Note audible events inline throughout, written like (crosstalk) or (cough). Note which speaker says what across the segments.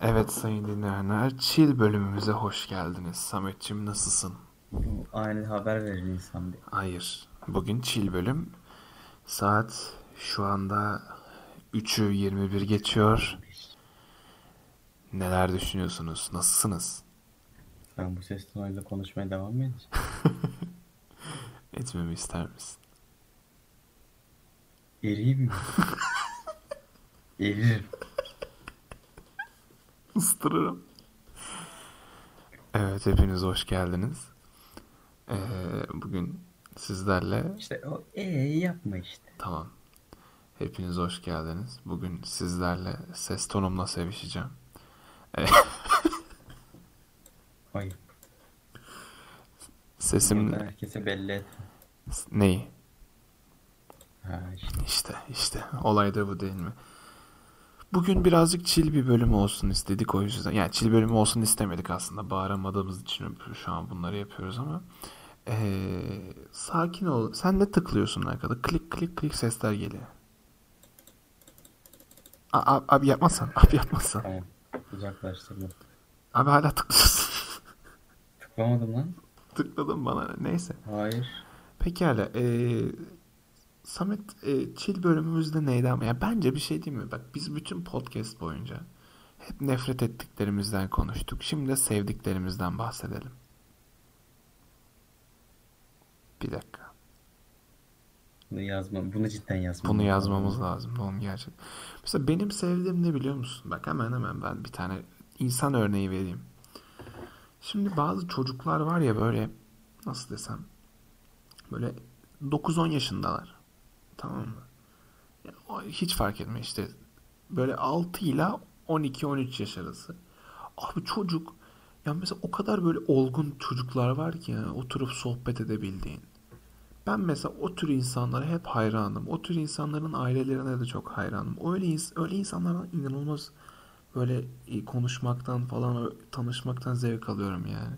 Speaker 1: Evet sayın dinleyenler, Chill bölümümüze hoş geldiniz. Sametçim nasılsın?
Speaker 2: Bu Ani haber verir insan bir.
Speaker 1: Hayır, bugün Chill bölüm. Saat şu anda 3'ü 21 geçiyor. Neler düşünüyorsunuz? Nasılsınız?
Speaker 2: Ben bu ses tonuyla konuşmaya devam mı edeceğim?
Speaker 1: Etmemi ister misin?
Speaker 2: Eriyim mi? Eririm.
Speaker 1: Istırırım. Evet, hepiniz hoş geldiniz. Ee, bugün sizlerle
Speaker 2: İşte o eee yapma işte.
Speaker 1: Tamam. Hepiniz hoş geldiniz. Bugün sizlerle ses tonumla sevişeceğim.
Speaker 2: Hayır.
Speaker 1: Sesim
Speaker 2: Bunu herkese belli et.
Speaker 1: neyi?
Speaker 2: Ha işte.
Speaker 1: İşte işte olay da bu değil mi? Bugün birazcık chill bir bölüm olsun istedik o yüzden. Yani chill bölümü olsun istemedik aslında. Bağıramadığımız için şu an bunları yapıyoruz ama. Ee, sakin ol. Sen ne tıklıyorsun arkada? Klik klik klik sesler geliyor. A- a- abi yapmazsan. Abi yapmazsan.
Speaker 2: Tamam. Uzaklaştırdım.
Speaker 1: Abi hala tıklıyorsun. (laughs)
Speaker 2: Tıklamadım lan.
Speaker 1: Tıkladım bana. ne- Neyse.
Speaker 2: Hayır.
Speaker 1: Pekala. eee, Samet eee Çil bölümümüzde neydi ama ya bence bir şey değil mi? Bak biz bütün podcast boyunca hep nefret ettiklerimizden konuştuk. Şimdi de sevdiklerimizden bahsedelim. Bir dakika.
Speaker 2: Bunu yazma. Bunu cidden yazma.
Speaker 1: Bunu yazmamız lazım. Oğlum gerçek. Mesela benim sevdiğim ne biliyor musun? Bak hemen hemen ben bir tane insan örneği vereyim. Şimdi bazı çocuklar var ya böyle nasıl desem böyle 9-10 yaşındalar. Tamam mı? Ya o hiç fark etme işte böyle 6 ile 12-13 yaş arası. Abi çocuk ya mesela o kadar böyle olgun çocuklar var ki ya, oturup sohbet edebildiğin. Ben mesela o tür insanlara hep hayranım. O tür insanların ailelerine de çok hayranım. Öyle, ins- öyle insanlardan inanılmaz böyle e, konuşmaktan falan ö- tanışmaktan zevk alıyorum yani.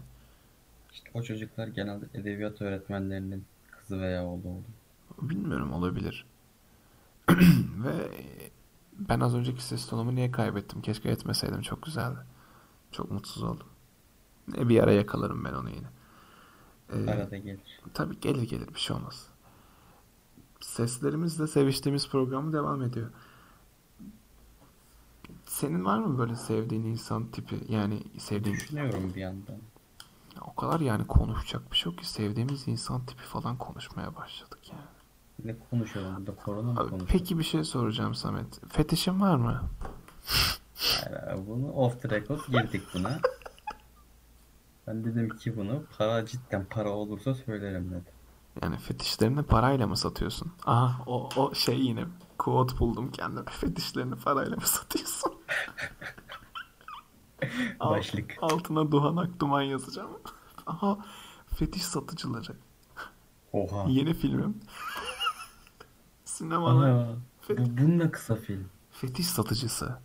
Speaker 2: İşte o çocuklar genelde edebiyat öğretmenlerinin kızı veya oğlu oldu.
Speaker 1: Bilmiyorum olabilir. (clears throat) Ve e, ben az önceki ses tonumu niye kaybettim? Keşke etmeseydim. Çok güzeldi. Çok mutsuz oldum. Ne bir ara yakalarım ben onu yine. Ee,
Speaker 2: Arada gelir.
Speaker 1: Tabii gelir gelir bir şey olmaz. Seslerimizle seviştiğimiz programı devam ediyor. Senin var mı böyle sevdiğin insan tipi? Yani sevdiğin...
Speaker 2: Düşünüyorum bir yandan.
Speaker 1: Ya O kadar yani konuşacak bir şey yok ki sevdiğimiz insan tipi falan konuşmaya başladık yani.
Speaker 2: Ne konuşuyorum burada? Korona mı
Speaker 1: Abi,
Speaker 2: konuşuyorum?
Speaker 1: peki bir şey soracağım Samet. Fetişin var mı?
Speaker 2: Hayır abi, Ee, Bunu off the record girdik buna. Ben dedim ki bunu para cidden para olursa söylerim dedim.
Speaker 1: Yani fetişlerini parayla mı satıyorsun? Aha o, o şey yine quote buldum kendime. Fetişlerini parayla mı (laughs) satıyorsun? Al-
Speaker 2: Başlık.
Speaker 1: altına Duhanak Duman yazacağım. (laughs) Aha fetiş satıcıları.
Speaker 2: Oha.
Speaker 1: Yeni filmim. (laughs) Sinemada
Speaker 2: Ana, bu, bununla kısa film.
Speaker 1: fetiş satıcısı.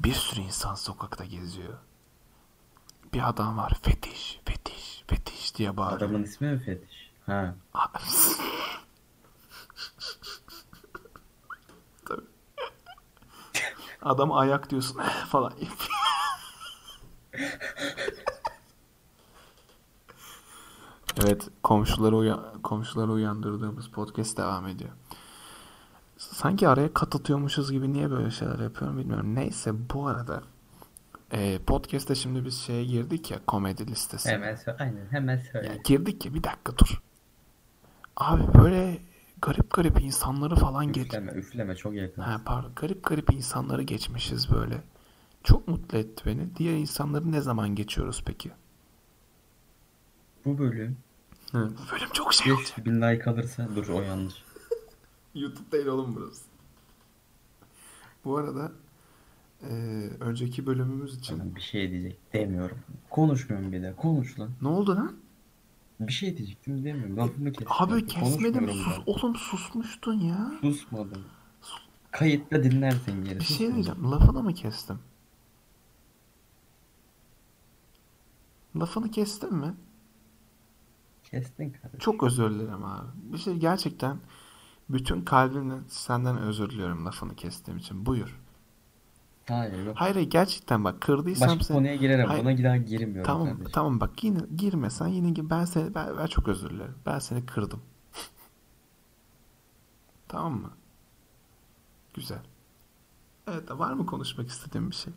Speaker 1: Bir sürü insan sokakta geziyor. Bir adam var fetiş, fetiş, fetiş diye bağırıyor.
Speaker 2: Adamın ismi mi Fetiş? Ha.
Speaker 1: Aa, Tabii. Adam ayak diyorsun (laughs) falan. evet, komşuları uya- komşuları uyandırdığımız podcast devam ediyor. Sanki araya kat atıyormuşuz gibi niye böyle şeyler yapıyorum bilmiyorum. Neyse bu arada e, podcast'te şimdi biz şeye girdik ya komedi listesi.
Speaker 2: Hemen söyle. Aynen hemen
Speaker 1: Ya
Speaker 2: söyle.
Speaker 1: girdik ya bir dakika dur. Abi böyle garip garip insanları falan geç.
Speaker 2: Üfleme üfleme çok yakın.
Speaker 1: Ha, pardon garip garip insanları geçmişiz böyle. Çok mutlu etti beni. Diğer insanları ne zaman geçiyoruz peki?
Speaker 2: Bu bölüm
Speaker 1: Bu bölüm çok şey olacak.
Speaker 2: 5000 like alırsa dur o yanlış.
Speaker 1: YouTube değil oğlum burası. Bu arada e, önceki bölümümüz için
Speaker 2: Adam bir şey diyecek demiyorum. Konuşmuyorum bir de konuş lan.
Speaker 1: ne oldu lan?
Speaker 2: Bir şey diyecektim demiyorum. Lafımı kestim.
Speaker 1: Abi kesmedim
Speaker 2: Konuşmuyorum
Speaker 1: sus
Speaker 2: ben.
Speaker 1: oğlum susmuştun ya.
Speaker 2: Susmadım. Kayıtta dinlersin geri.
Speaker 1: Bir şey
Speaker 2: susmadım.
Speaker 1: diyeceğim. Lafını mı kestim? Lafını kestim mi?
Speaker 2: Kestin kardeşim.
Speaker 1: Çok özür dilerim abi. Bir şey gerçekten bütün kalbimle senden özür diliyorum lafını kestiğim için. Buyur.
Speaker 2: Hayır yok.
Speaker 1: Hayır hayır, gerçekten bak kırdıysam
Speaker 2: Başka
Speaker 1: sen-
Speaker 2: konuya girerim.
Speaker 1: Hayır.
Speaker 2: Buna gider girmiyorum
Speaker 1: Tamam
Speaker 2: kardeşim.
Speaker 1: tamam bak yine girmesen yine gir. Ben seni ben, ben çok özür dilerim. Ben seni kırdım. (laughs) tamam mı? Güzel. Evet var mı konuşmak istediğin bir şey?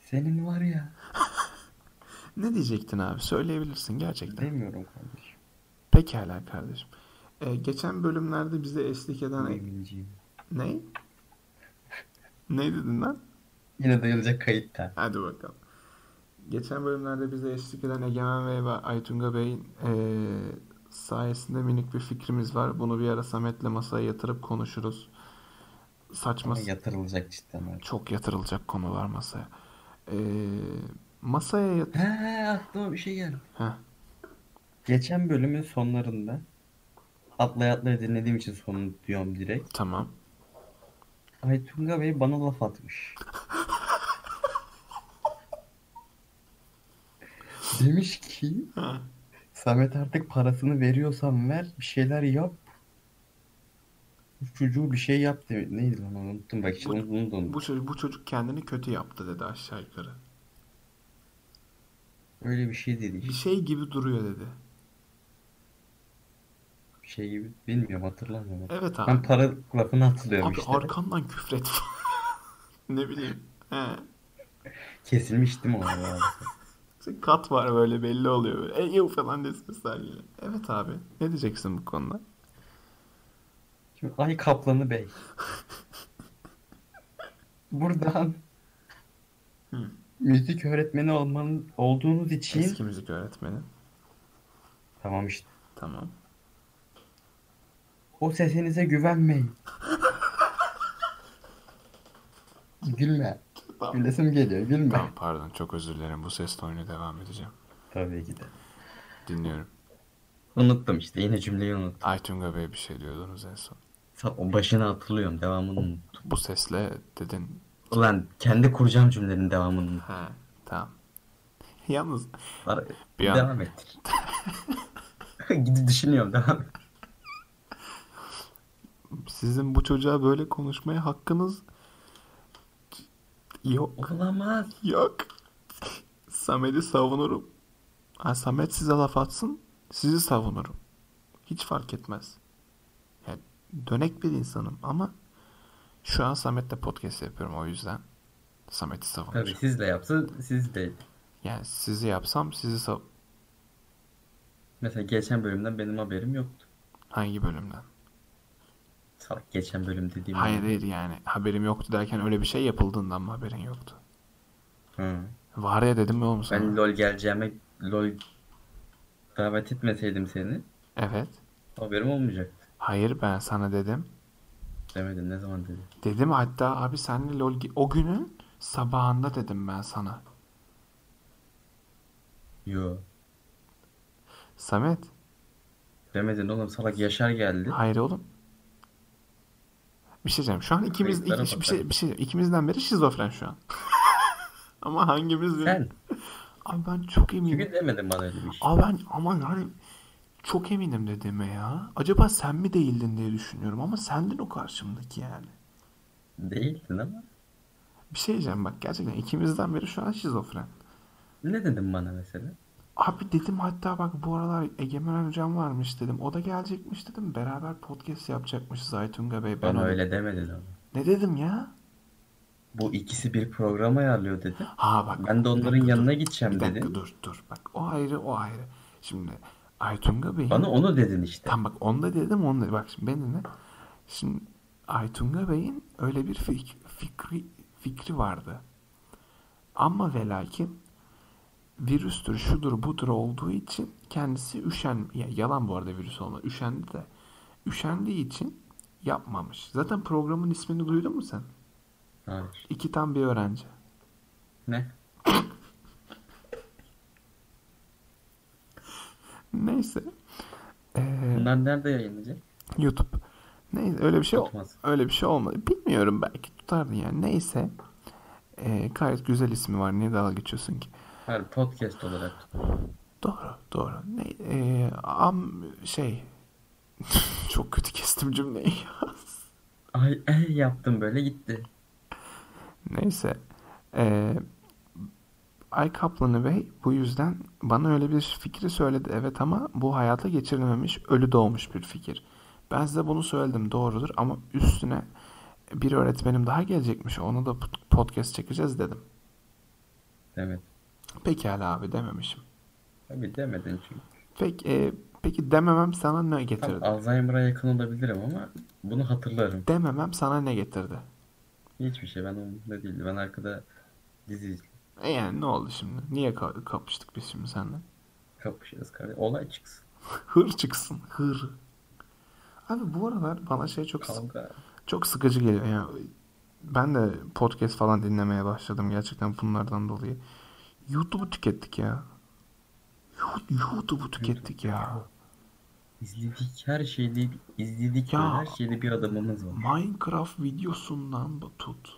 Speaker 2: Senin var ya.
Speaker 1: Ne diyecektin abi? Söyleyebilirsin gerçekten.
Speaker 2: Demiyorum kardeşim.
Speaker 1: Pekala kardeşim. Ee, geçen bölümlerde bize eşlik eden...
Speaker 2: Eminciyim.
Speaker 1: Ne? ne dedin lan?
Speaker 2: Yine dayılacak kayıtta.
Speaker 1: Hadi bakalım. Geçen bölümlerde bize eşlik eden Egemen Bey ve Aytunga Bey'in eee, sayesinde minik bir fikrimiz var. Bunu bir ara Samet'le masaya yatırıp konuşuruz. Saçma,
Speaker 2: Ama yatırılacak cidden. abi.
Speaker 1: çok yatırılacak konu var masaya. Eee, masaya yat...
Speaker 2: He aklıma bir şey geldi.
Speaker 1: Heh,
Speaker 2: Geçen bölümün sonlarında atlay atlay dinlediğim için sonunu diyorum direkt.
Speaker 1: tamam.
Speaker 2: Aytunga Bey bana
Speaker 1: (laughs)
Speaker 2: laf atmış. Demiş ki
Speaker 1: Ha.
Speaker 2: Samet artık parasını veriyorsan ver bir şeyler yap. Bu çocuğu bir şey yap demiş. Neydi lan onu unuttum bak işte
Speaker 1: Bu-
Speaker 2: onu bunu da unuttum.
Speaker 1: Bu çocuk, bu çocuk kendini kötü yaptı dedi aşağı yukarı.
Speaker 2: Öyle bir şey dedi.
Speaker 1: Bir şey gibi duruyor dedi.
Speaker 2: Bir şey gibi bilmiyorum hatırlamıyorum.
Speaker 1: Evet abi.
Speaker 2: Ben para lafını hatırlıyorum
Speaker 1: Abi
Speaker 2: işte.
Speaker 1: arkandan küfret. (laughs) Ne bileyim. He.
Speaker 2: Kesilmiştim o arada.
Speaker 1: İşte Kat var böyle belli oluyor. Böyle. E, yuh falan desin sergiyle. Evet abi. Ne diyeceksin bu konuda?
Speaker 2: Şimdi Ay Kaplanı Bey. Buradan
Speaker 1: Hı.
Speaker 2: müzik öğretmeni olmanın olduğunuz için
Speaker 1: Eski müzik öğretmeni.
Speaker 2: tamam işte.
Speaker 1: Tamam.
Speaker 2: O sesinize güvenmeyin. Gülme.
Speaker 1: Tamam.
Speaker 2: Gülesim geliyor. Gülme.
Speaker 1: Tamam pardon çok özür dilerim. Bu ses tonuyla devam edeceğim.
Speaker 2: Tabii ki de.
Speaker 1: Dinliyorum.
Speaker 2: Unuttum işte. Yine cümleyi unuttum.
Speaker 1: Aytunga Bey bir şey diyordunuz en son.
Speaker 2: Sa- O başını hatırlıyorum. Devamını unuttum.
Speaker 1: Bu sesle dedin.
Speaker 2: Ulan kendi kuracağım cümlenin devamını unuttum.
Speaker 1: He tamam. Yalnız
Speaker 2: Var-
Speaker 1: Bir an-
Speaker 2: Devam et. (laughs) Gidip düşünüyorum. Devam et.
Speaker 1: sizin bu çocuğa böyle konuşmaya hakkınız yok.
Speaker 2: Olamaz.
Speaker 1: Yok. Samet'i savunurum. Ha, Samet size laf atsın, sizi savunurum. Hiç fark etmez. Yani dönek bir insanım ama şu an Samet'le podcast yapıyorum o yüzden Samet'i savunurum.
Speaker 2: Tabii siz de yapsa siz de.
Speaker 1: Yani sizi yapsam sizi sav...
Speaker 2: Mesela geçen bölümden benim haberim yoktu.
Speaker 1: Hangi bölümden?
Speaker 2: Salak geçen bölüm dediğim.
Speaker 1: Hayır
Speaker 2: gibi.
Speaker 1: hayır yani haberim yoktu derken öyle bir şey yapıldığından mı haberin yoktu?
Speaker 2: Hı.
Speaker 1: Var ya dedim mi oğlum sana?
Speaker 2: Ben lol geleceğime lol davet etmeseydim seni
Speaker 1: Evet.
Speaker 2: haberim olmayacaktı.
Speaker 1: Hayır ben sana dedim.
Speaker 2: Demedin ne zaman dedi.
Speaker 1: Dedim hatta abi senle lol gi- o günün sabahında dedim ben sana.
Speaker 2: Yo.
Speaker 1: Samet.
Speaker 2: Demedin oğlum salak Yaşar geldi.
Speaker 1: Hayır oğlum. Bir şey diyeceğim. Şu an ikimiz
Speaker 2: Kayıtlara
Speaker 1: iki- bir şey
Speaker 2: bakarım.
Speaker 1: bir şey ikimizden biri şizofren şu an. (laughs) Ama hangimiz?
Speaker 2: Sen.
Speaker 1: Abi ben çok eminim.
Speaker 2: Çünkü demedin bana öyle bir şey.
Speaker 1: Abi ben aman hani çok eminim dediğime ya. Acaba sen mi değildin diye düşünüyorum ama sendin o karşımdaki yani.
Speaker 2: Değildin ama.
Speaker 1: Bir şey diyeceğim bak gerçekten ikimizden biri şu an şizofren.
Speaker 2: Ne dedin bana mesela?
Speaker 1: Abi dedim hatta bak bu aralar Egemen Hocam varmış dedim. O da gelecekmiş dedim. Beraber podcast yapacakmışız Aytunga Bey. Ben
Speaker 2: Bana
Speaker 1: onu-
Speaker 2: öyle demedin ama.
Speaker 1: Ne dedim ya?
Speaker 2: Bu ikisi bir program ayarlıyor dedi.
Speaker 1: Ha bak.
Speaker 2: Ben de
Speaker 1: bir
Speaker 2: onların
Speaker 1: dakika, dur.
Speaker 2: yanına
Speaker 1: Bir
Speaker 2: gideceğim
Speaker 1: dakika
Speaker 2: dedin.
Speaker 1: dur dur. Bak o ayrı o ayrı. Şimdi Aytunga Bey'in...
Speaker 2: Bana onu dedin işte.
Speaker 1: Tamam bak onu da dedim onu da. Bak şimdi ben dinle. Şimdi Aytunga Bey'in öyle bir fik- fikri, fikri vardı. Ama ve lakin virüstür şudur budur olduğu için kendisi üşen ya yalan bu arada virüs olma üşendi de üşendiği için yapmamış. Zaten programın ismini duydun mu sen?
Speaker 2: Hayır.
Speaker 1: İki tam bir öğrenci.
Speaker 2: Ne?
Speaker 1: Neyse. Ee,
Speaker 2: Bunlar nerede yayınlayacak?
Speaker 1: YouTube. Neyse öyle bir şey
Speaker 2: Tutmaz.
Speaker 1: öyle bir şey olmadı. Bilmiyorum belki tutardı yani. Neyse. Ee, gayet güzel ismi var. Niye dalga geçiyorsun ki?
Speaker 2: Hayır podcast olarak.
Speaker 1: Doğru, doğru. Ne, ee, am şey (laughs) çok kötü kestim cümleyi.
Speaker 2: Ay eh yaptım böyle gitti.
Speaker 1: Neyse. Ee, Ay Kaplanı Bey bu yüzden bana öyle bir fikri söyledi evet ama bu hayata geçirilememiş ölü doğmuş bir fikir. Ben size bunu söyledim doğrudur ama üstüne bir öğretmenim daha gelecekmiş ona da pod- podcast çekeceğiz dedim.
Speaker 2: Evet.
Speaker 1: Pekala abi dememişim.
Speaker 2: Tabii demedin çünkü.
Speaker 1: Peki, e, peki dememem sana ne
Speaker 2: Tam
Speaker 1: getirdi?
Speaker 2: Alzheimer'a yakın olabilirim ama bunu hatırlarım.
Speaker 1: Dememem sana ne getirdi?
Speaker 2: Hiçbir şey ben umurumda değildi. Ben arkada dizi izliyorum.
Speaker 1: E yani ne oldu şimdi? Niye ka- kapıştık biz şimdi seninle? (laughs)
Speaker 2: kapışırız kardeşim. Olay çıksın.
Speaker 1: Hır çıksın. Hır. Abi bu aralar bana şey çok sık-
Speaker 2: Kavga.
Speaker 1: çok sıkıcı geliyor. Yani ben de podcast falan dinlemeye başladım gerçekten bunlardan dolayı. YouTube'u tükettik ya. Yu- YouTube'u tükettik ya.
Speaker 2: İzledik her şeyde izledik
Speaker 1: Ya.
Speaker 2: böyle her şeyde bir adamımız var.
Speaker 1: Minecraft videosundan bu tut.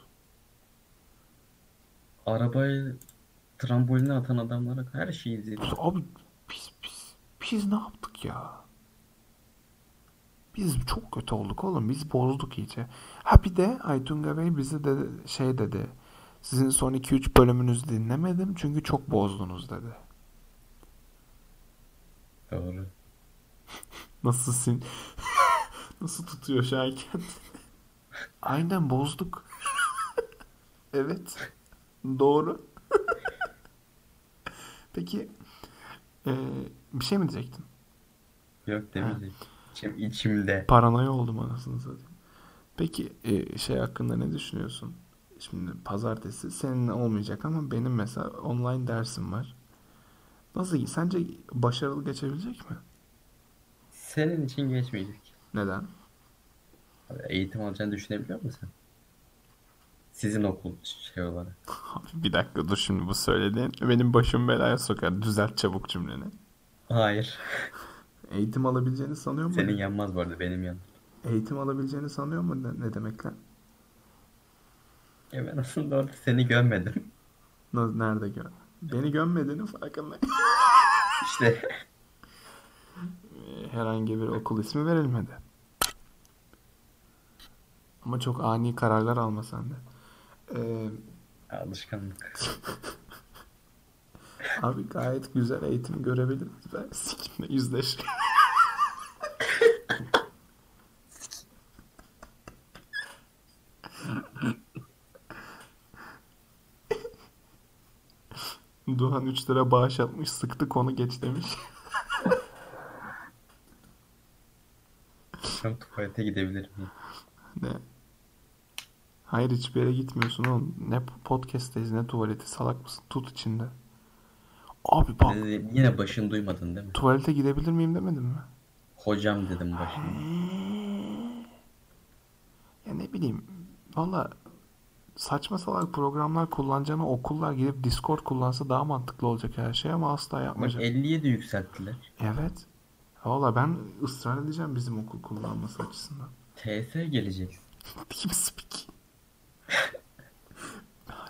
Speaker 2: Arabayı tramboline atan adamlara her şeyi izledik.
Speaker 1: E Abi biz biz biz ne yaptık ya? Biz çok kötü olduk oğlum. Biz bozduk iyice. Ha bir de Aytunga Bey bize de şey dedi. Sizin son 2-3 bölümünüzü dinlemedim çünkü çok bozdunuz dedi.
Speaker 2: Doğru.
Speaker 1: Nasıl sin (laughs) Nasıl tutuyor şu an kendini? Aynen bozduk. (laughs) Evet. Doğru. (laughs) Peki eee, bir şey mi diyecektin?
Speaker 2: Yok demeyecek. İçim, içimde.
Speaker 1: Paranoya oldum anasını satayım. Peki e, şey hakkında ne düşünüyorsun? Şimdi pazartesi senin olmayacak ama benim mesela online dersim var. Nasıl? Sence başarılı geçebilecek mi?
Speaker 2: Senin için geçmeyecek.
Speaker 1: Neden?
Speaker 2: Abi Eğitim alacağını düşünebiliyor musun? Sizin okul şey olarak.
Speaker 1: Abi bir dakika dur şimdi bu söylediğin benim başım belaya sokar. Düzelt çabuk cümleni.
Speaker 2: Hayır.
Speaker 1: Eğitim alabileceğini sanıyor mu?
Speaker 2: Senin yanmaz bu arada benim yanım.
Speaker 1: Eğitim alabileceğini sanıyor mu? Ne, ne demek lan?
Speaker 2: Ya ben aslında orada seni gömmedim.
Speaker 1: Na- Nerede gör? Beni gömmediğinin farkındayım.
Speaker 2: (laughs) İşte
Speaker 1: herhangi bir okul ismi verilmedi. Ama çok ani kararlar alma sen de. Ee,
Speaker 2: alışkanlık.
Speaker 1: abi gayet güzel eğitim görebiliriz. Ben sikimle yüzleş. (laughs) Duhan 3 lira bağış atmış sıktı konu geç demiş.
Speaker 2: Ben tuvalete gidebilir miyim?
Speaker 1: Ne? Hayır hiçbir yere gitmiyorsun oğlum. Ne podcast'teyiz ne tuvaleti salak mısın? Tut içinde. Abi bak
Speaker 2: Ne dedim? Yine başını duymadın değil mi?
Speaker 1: tuvalete gidebilir miyim demedim mi?
Speaker 2: Hocam dedim başında.
Speaker 1: Ya ne bileyim valla saçma salak programlar kullanacağına okullar gidip Discord kullansa daha mantıklı olacak her şey ama asla
Speaker 2: Bak
Speaker 1: yapmayacak.
Speaker 2: 50'ye de yükselttiler.
Speaker 1: Evet. Valla ben ısrar edeceğim bizim okul kullanması açısından.
Speaker 2: TS gelecek.
Speaker 1: Deep
Speaker 2: (laughs)
Speaker 1: speak.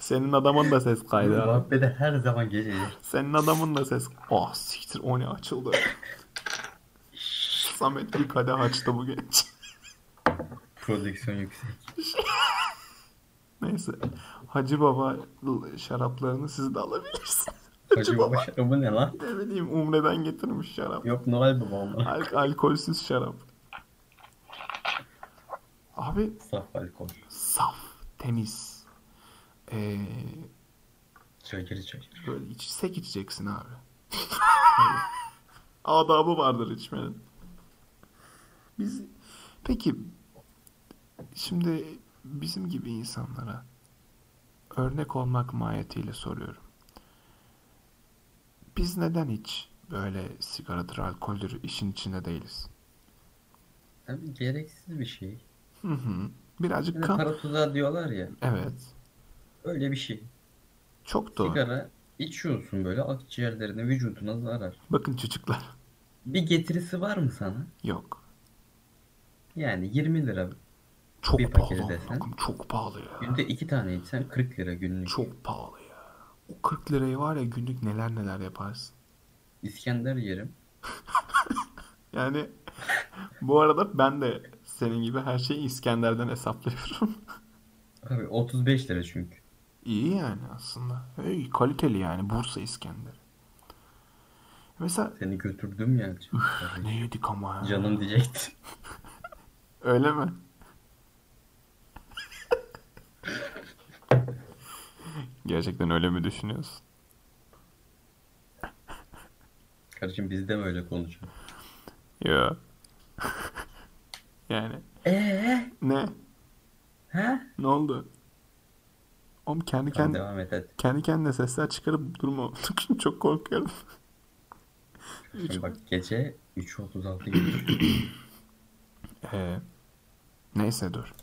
Speaker 1: Senin adamın da ses kaydı. abi.
Speaker 2: Muhabbete her zaman gelecek.
Speaker 1: Senin adamın da ses. Ah siktir o ne açıldı. Samet bir kadeh açtı bu genç. (laughs)
Speaker 2: Prodüksiyon yüksek.
Speaker 1: Neyse. Hacı Baba şaraplarını siz de alabilirsiniz. (laughs)
Speaker 2: Hacı baba şarabı ne lan?
Speaker 1: Ne bileyim Umre'den getirmiş şarap.
Speaker 2: Yok Noel baba onlar.
Speaker 1: Al- alkolsüz şarap. Abi
Speaker 2: Saf alkol.
Speaker 1: saf, temiz. Ee,
Speaker 2: Çökeri çökeri.
Speaker 1: böyle içsek içeceksin abi. (laughs) Adabı vardır içmenin. Biz peki şimdi bizim gibi insanlara örnek olmak mahiyetiyle soruyorum. Biz neden hiç böyle sigaradır, alkoldür işin içinde değiliz?
Speaker 2: Tabii gereksiz bir şey.
Speaker 1: Hı hı.
Speaker 2: Bir
Speaker 1: Birazcık
Speaker 2: de
Speaker 1: kan.
Speaker 2: para tuzağı diyorlar ya.
Speaker 1: Evet.
Speaker 2: Öyle bir şey.
Speaker 1: Çok doğru.
Speaker 2: Sigara içiyorsun böyle akciğerlerine vücuduna zarar.
Speaker 1: Bakın çocuklar.
Speaker 2: Bir getirisi var mı sana?
Speaker 1: Yok.
Speaker 2: Yani 20 lira.
Speaker 1: Çok
Speaker 2: Bir
Speaker 1: pahalı.
Speaker 2: paketi
Speaker 1: amına
Speaker 2: desen.
Speaker 1: koyayım, Çok pahalı ya.
Speaker 2: Günde 2 tane içsen 40 lira günlük.
Speaker 1: Çok pahalı ya. O 40 lirayı var ya günlük neler neler yaparsın.
Speaker 2: İskender yerim.
Speaker 1: Yani (laughs) bu arada ben de senin gibi her şeyi İskender'den hesaplıyorum.
Speaker 2: Abi 35 lira çünkü.
Speaker 1: (laughs) İyi yani aslında. Hey, kaliteli yani Bursa İskender. Mesela
Speaker 2: Seni götürdüm yani.
Speaker 1: ne yedik ama ya.
Speaker 2: Canım diyecekti.
Speaker 1: Öyle mi? (laughs) Gerçekten öyle mi düşünüyorsun?
Speaker 2: Kardeşim biz de mi öyle konuşuyor?
Speaker 1: Yo. (laughs) yani
Speaker 2: Eee?
Speaker 1: ne?
Speaker 2: Ha?
Speaker 1: Ne oldu? Oğlum kendi
Speaker 2: Tamam,
Speaker 1: kendi
Speaker 2: devam et hadi.
Speaker 1: kendi kendine sesler çıkarıp durma. Çok korkuyorum.
Speaker 2: Şimdi bak gece 3.36 gibi
Speaker 1: (clears throat) Ee, neyse dur.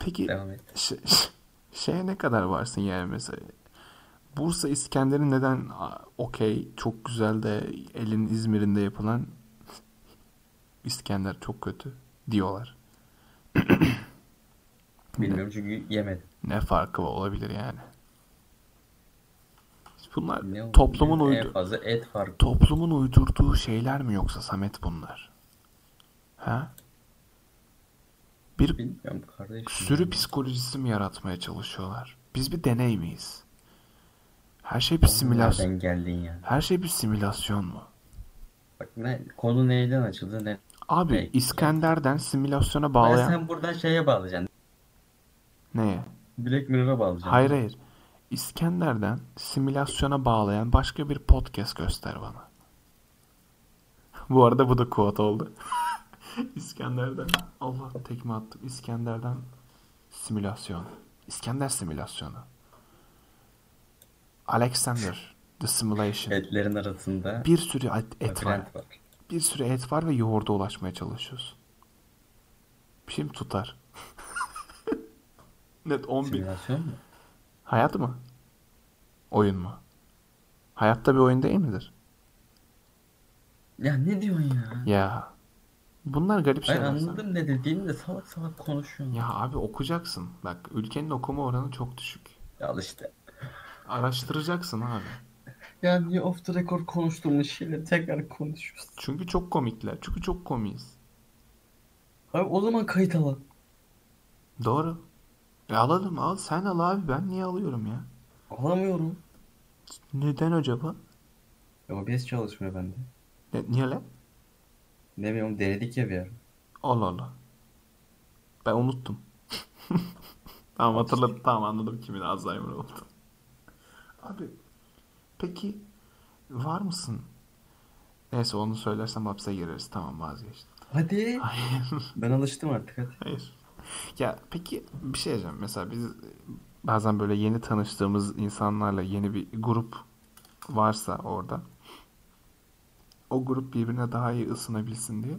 Speaker 1: Peki
Speaker 2: devam et.
Speaker 1: ş- ş- şeye ne kadar varsın yani mesela? Bursa İskender'in neden a, okey çok güzel de elin İzmir'inde yapılan İskender çok kötü diyorlar.
Speaker 2: Bilmiyorum çünkü yemedim.
Speaker 1: Ne farkı olabilir yani? Bunlar
Speaker 2: Ne E, oldu?
Speaker 1: toplumun
Speaker 2: En
Speaker 1: uydu
Speaker 2: fazla et farkı.
Speaker 1: toplumun uydurduğu şeyler mi yoksa Samet bunlar? Ha? Bir
Speaker 2: Bilmiyorum kardeşim.
Speaker 1: sürü psikolojisi mi yaratmaya çalışıyorlar? Biz bir deney miyiz? Her şey bir simülasyon.
Speaker 2: Nereden geldin yani?
Speaker 1: Her şey bir simülasyon mu?
Speaker 2: Bak ne, konu neyden açıldı ne?
Speaker 1: Abi
Speaker 2: Hey.
Speaker 1: İskender'den simülasyona
Speaker 2: Ben
Speaker 1: bağlayan
Speaker 2: sen buradan şeye bağlayacaksın.
Speaker 1: neye?
Speaker 2: Black Mirror'a bağlayacaksın.
Speaker 1: Hayır hayır. İskender'den simülasyona bağlayan başka bir podcast göster bana. Bu arada bu da kuat oldu. (laughs) İskender'den Allah tekme attım. İskender'den simülasyon. İskender simülasyonu. Alexander the simulation.
Speaker 2: Etlerin arasında
Speaker 1: Bir sürü et, et var.
Speaker 2: labirent var.
Speaker 1: Bir sürü et var ve yoğurda ulaşmaya çalışıyoruz. Şimdi tutar. (laughs) Net 10 bin.
Speaker 2: Simülasyon mu?
Speaker 1: Hayat mı? Oyun mu? Hayatta bir oyun değil midir?
Speaker 2: Ya ne diyorsun ya?
Speaker 1: Ya. Bunlar garip
Speaker 2: Hayır
Speaker 1: şeyler. sen.
Speaker 2: anladım ne dediğini de salak salak konuşuyorsun.
Speaker 1: şey Ya abi okuyacaksın. Bak ülkenin okuma oranı çok düşük.
Speaker 2: Ya al işte.
Speaker 1: Araştıracaksın abi.
Speaker 2: Ya niye off the record konuştuğumuz şeyleri tekrar konuşuyoruz?
Speaker 1: Çünkü çok komikler. Çünkü çok komiyiz.
Speaker 2: Abi o zaman kayıt alalım.
Speaker 1: Doğru. E alalım al. Sen al abi. Ben niye alıyorum ya?
Speaker 2: Alamıyorum.
Speaker 1: Neden acaba?
Speaker 2: Ya OBS çalışmıyor bende.
Speaker 1: Ne, niye lan?
Speaker 2: Ne bileyim denedik ya bir ara.
Speaker 1: Allah Allah. Ben unuttum. (laughs) tamam hatırladım. Tamam anladım kimin Alzheimer oldu. Abi peki var mısın? Neyse onu söylersem hapse gireriz. Tamam vazgeçtim.
Speaker 2: Hadi.
Speaker 1: Hayır.
Speaker 2: Ben alıştım artık hadi.
Speaker 1: Hayır. Ya peki bir şey diyeceğim. Mesela biz bazen böyle yeni tanıştığımız insanlarla yeni bir grup varsa orada o grup birbirine daha iyi ısınabilsin diye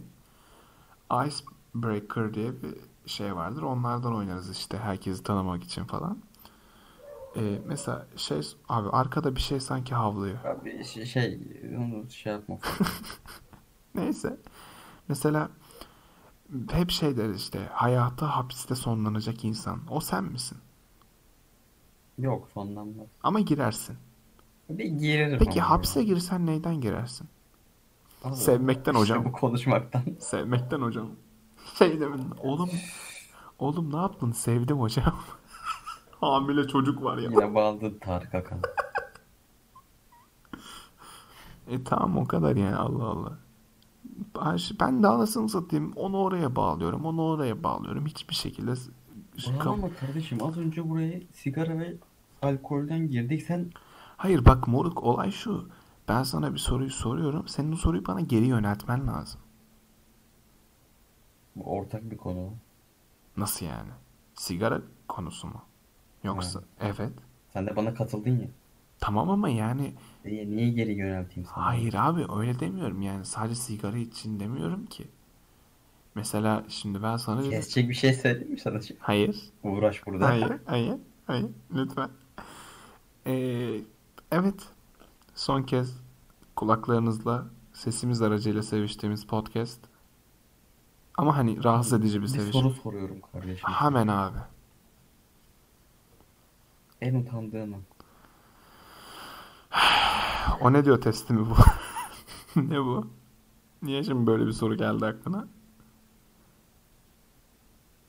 Speaker 1: Icebreaker diye bir şey vardır. Onlardan oynarız işte herkesi tanımak için falan. Ee, mesela şey abi arkada bir şey sanki havlıyor.
Speaker 2: Abi şey, şey onu şey yapma.
Speaker 1: Neyse. Mesela hep şey deriz işte hayatı hapiste sonlanacak insan. O sen misin?
Speaker 2: Yok sonlanmaz.
Speaker 1: Ama girersin.
Speaker 2: Bir girerim
Speaker 1: Peki
Speaker 2: ama
Speaker 1: hapse
Speaker 2: ya.
Speaker 1: girsen neyden girersin? (laughs)
Speaker 2: Allah.
Speaker 1: Sevmekten
Speaker 2: İşte
Speaker 1: hocam.
Speaker 2: bu (laughs) konuşmaktan.
Speaker 1: Sevmekten hocam. (laughs) Şey demin. Oğlum. Oğlum ne yaptın? Sevdim hocam. (laughs) Hamile çocuk var ya.
Speaker 2: Yine bağladı Tarık Akan.
Speaker 1: E tamam o kadar yani Allah Allah. Ben, şi- ben de anasını satayım. Onu oraya bağlıyorum. Onu oraya bağlıyorum. Hiçbir şekilde s-
Speaker 2: Ulan
Speaker 1: kaf-
Speaker 2: ama kardeşim az önce buraya sigara ve alkolden girdik. Sen
Speaker 1: Hayır bak moruk olay şu. Ben sana bir soruyu soruyorum. Senin o soruyu bana geri yöneltmen lazım.
Speaker 2: Bu ortak bir konu.
Speaker 1: Nasıl yani? Sigara konusu mu? Yoksa evet.
Speaker 2: Sen de bana katıldın ya.
Speaker 1: Tamam ama yani
Speaker 2: Niye, niye geri yönelteyim sana?
Speaker 1: hayır abi öyle demiyorum yani sadece sigara için demiyorum ki. Mesela şimdi ben sana dedim.
Speaker 2: Kesecek bir şey söyleyeyim mi sana? şimdi?
Speaker 1: Hayır.
Speaker 2: Uğraş burada.
Speaker 1: Hayır, hayır, hayır. Lütfen. Ee, evet. Son kez kulaklarınızla sesimiz aracıyla seviştiğimiz podcast. Ama hani rahatsız edici bir
Speaker 2: Bir
Speaker 1: sevişme.
Speaker 2: soru soruyorum kardeşim.
Speaker 1: Hemen abi.
Speaker 2: En utandığım an.
Speaker 1: O ne diyor testi mi bu? (laughs) ne bu? Niye şimdi böyle bir soru geldi aklına?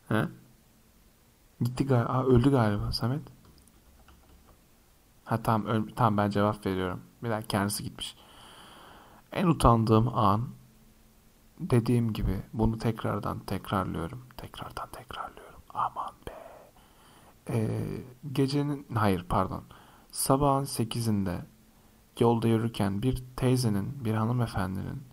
Speaker 1: He? Gitti galiba. Aa, öldü galiba Samet. Ha tamam, ö- tamam ben cevap veriyorum. Bir dakika kendisi gitmiş. En utandığım an dediğim gibi bunu tekrardan tekrarlıyorum. Tekrardan tekrarlıyorum. Aman be. Ee, gecenin hayır pardon. Sabahın 8'inde yolda yürürken bir teyzenin, bir hanımefendinin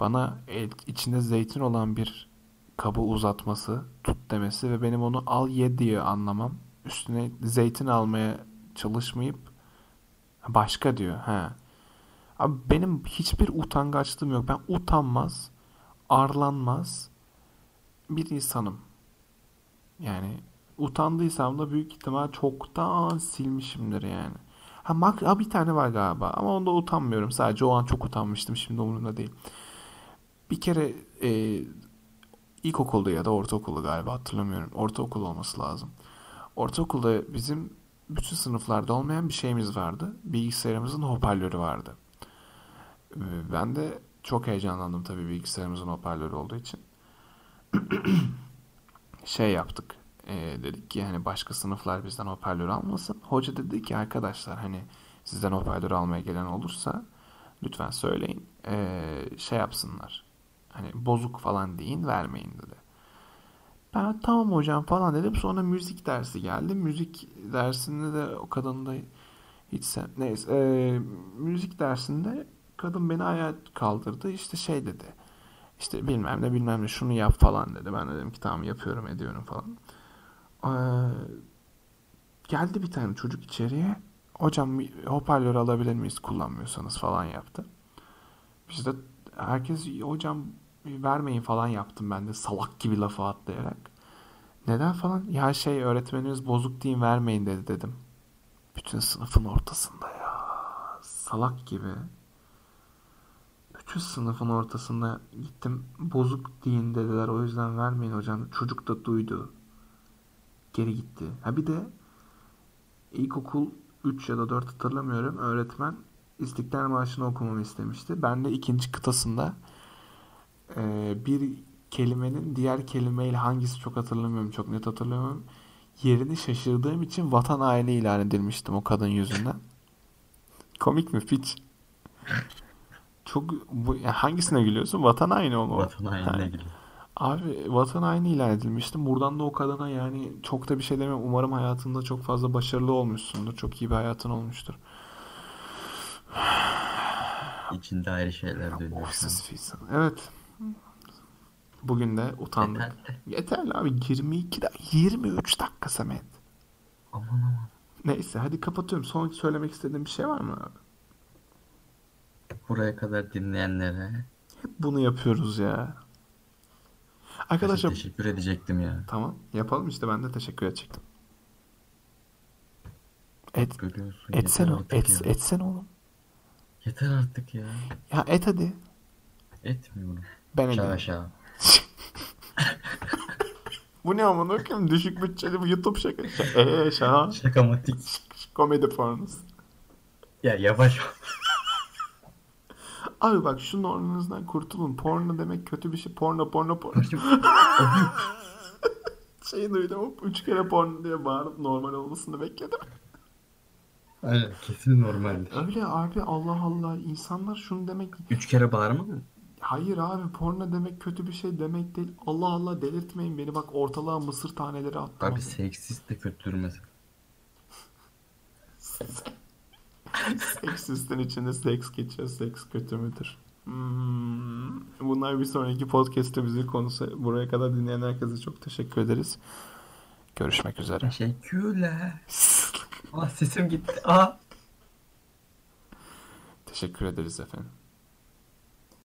Speaker 1: bana el- içinde zeytin olan bir kabı uzatması, tut demesi ve benim onu al ye diye anlamam. Üstüne zeytin almaya çalışmayıp başka diyor. He. Abi benim hiçbir utangaçlığım yok. Ben utanmaz, arlanmaz bir insanım. Yani utandıysam da büyük ihtimal çoktan silmişimdir yani. Ha, mak ha bir tane var galiba ama onda utanmıyorum. Sadece o an çok utanmıştım şimdi umurumda değil. Bir kere e, ilkokulda ya da ortaokulda galiba hatırlamıyorum. Ortaokul olması lazım. Ortaokulda bizim bütün sınıflarda olmayan bir şeyimiz vardı. Bilgisayarımızın hoparlörü vardı. Ee, Ben de çok heyecanlandım tabii bilgisayarımızın hoparlörü olduğu için. Şey yaptık. Ee, dedik ki hani başka sınıflar bizden hoparlör almasın. Hoca dedi ki arkadaşlar hani sizden hoparlör almaya gelen olursa lütfen söyleyin. Ee, şey yapsınlar. Hani bozuk falan deyin vermeyin dedi. Ben tamam hocam falan dedim. Sonra müzik dersi geldi. Müzik dersinde de o kadın da hiç sen... Neyse. eee, müzik dersinde kadın beni ayağa kaldırdı. İşte şey dedi. İşte bilmem ne bilmem ne şunu yap falan dedi. Ben de dedim ki tamam yapıyorum ediyorum falan. Eee, geldi bir tane çocuk içeriye. Hocam hoparlör alabilir miyiz kullanmıyorsanız falan yaptı. Biz de herkes hocam vermeyin falan yaptım ben de salak gibi lafa atlayarak. Neden falan? Ya şey öğretmenimiz bozuk deyin vermeyin dedi dedim. Bütün sınıfın ortasında ya. Salak gibi. Bütün sınıfın ortasında gittim bozuk deyin dediler o yüzden vermeyin hocam. Çocuk da duydu. Geri gitti. Ha bir de İlkokul 3 ya da 4 hatırlamıyorum. Öğretmen İstiklal Marşı'nı okumamı istemişti. Ben de ikinci kıtasında e, bir kelimenin diğer kelimeyle hangisi çok hatırlamıyorum, çok net hatırlamıyorum. Yerini şaşırdığım için vatan haini ilan edilmiştim o kadın yüzünden. (laughs) Komik mi piç? Çok bu, ya hangisine gülüyorsun? Vatan haini o mu?
Speaker 2: Vatan hainine gidiyor.
Speaker 1: Abi vatan haini ilan edilmiştim. Buradan da o kadına yani çok da bir şey demem. Umarım hayatında çok fazla başarılı olmuşsundur. Çok iyi bir hayatın olmuştur.
Speaker 2: İçinde ayrı şeyler dönüyor. şu an.
Speaker 1: Ofsuz fiziksel. Evet. Bugün de utandık.
Speaker 2: Yeter.
Speaker 1: Yeterli abi 22 dak 23 dakika Samet.
Speaker 2: Aman aman.
Speaker 1: Neyse hadi kapatıyorum. Son söylemek istediğim bir şey var mı abi?
Speaker 2: Buraya kadar dinleyenlere
Speaker 1: Hep bunu yapıyoruz ya.
Speaker 2: Arkadaşlar...
Speaker 1: Arkadaşlar
Speaker 2: teşekkür edecektim ya.
Speaker 1: tamam yapalım işte ben de teşekkür edecektim. Et,
Speaker 2: Görüyorsun.
Speaker 1: etsen
Speaker 2: yeter
Speaker 1: o,
Speaker 2: artık
Speaker 1: et,
Speaker 2: ya.
Speaker 1: etsen oğlum.
Speaker 2: Yeter artık ya.
Speaker 1: Ya et hadi.
Speaker 2: Etmiyorum.
Speaker 1: Ben edeyim.
Speaker 2: Şaha şaha.
Speaker 1: Bu ne amına koyayım düşük bütçeli bu YouTube şaka. Şa- Ee şaha.
Speaker 2: Şaka matik.
Speaker 1: Komedi pornosu.
Speaker 2: Ya yavaş ol.
Speaker 1: Abi bak şu normunuzdan kurtulun. Porno demek kötü bir şey. Porno porno porno. Şeyi duydum. hop, Üç kere porno diye bağırıp normal olmasını bekledim.
Speaker 2: Aynen kesin normaldir.
Speaker 1: Öyle abi Allah Allah. insanlar şunu demek.
Speaker 2: Üç kere bağırma mı?
Speaker 1: Hayır abi porno demek kötü bir şey demek değil. Allah Allah delirtmeyin beni. Bak ortalığa mısır taneleri attım.
Speaker 2: Abi seksist de kötüdür mesela.
Speaker 1: Seksistin içinde seks geçiyor. Seks kötü müdür? Hmm. Bunlar bir sonraki podcast'imizin konusu. Buraya kadar dinleyen herkese çok teşekkür ederiz. Görüşmek
Speaker 2: (laughs)
Speaker 1: üzere.
Speaker 2: Teşekkürler. Ah sesim gitti. Ah.
Speaker 1: Teşekkür ederiz efendim.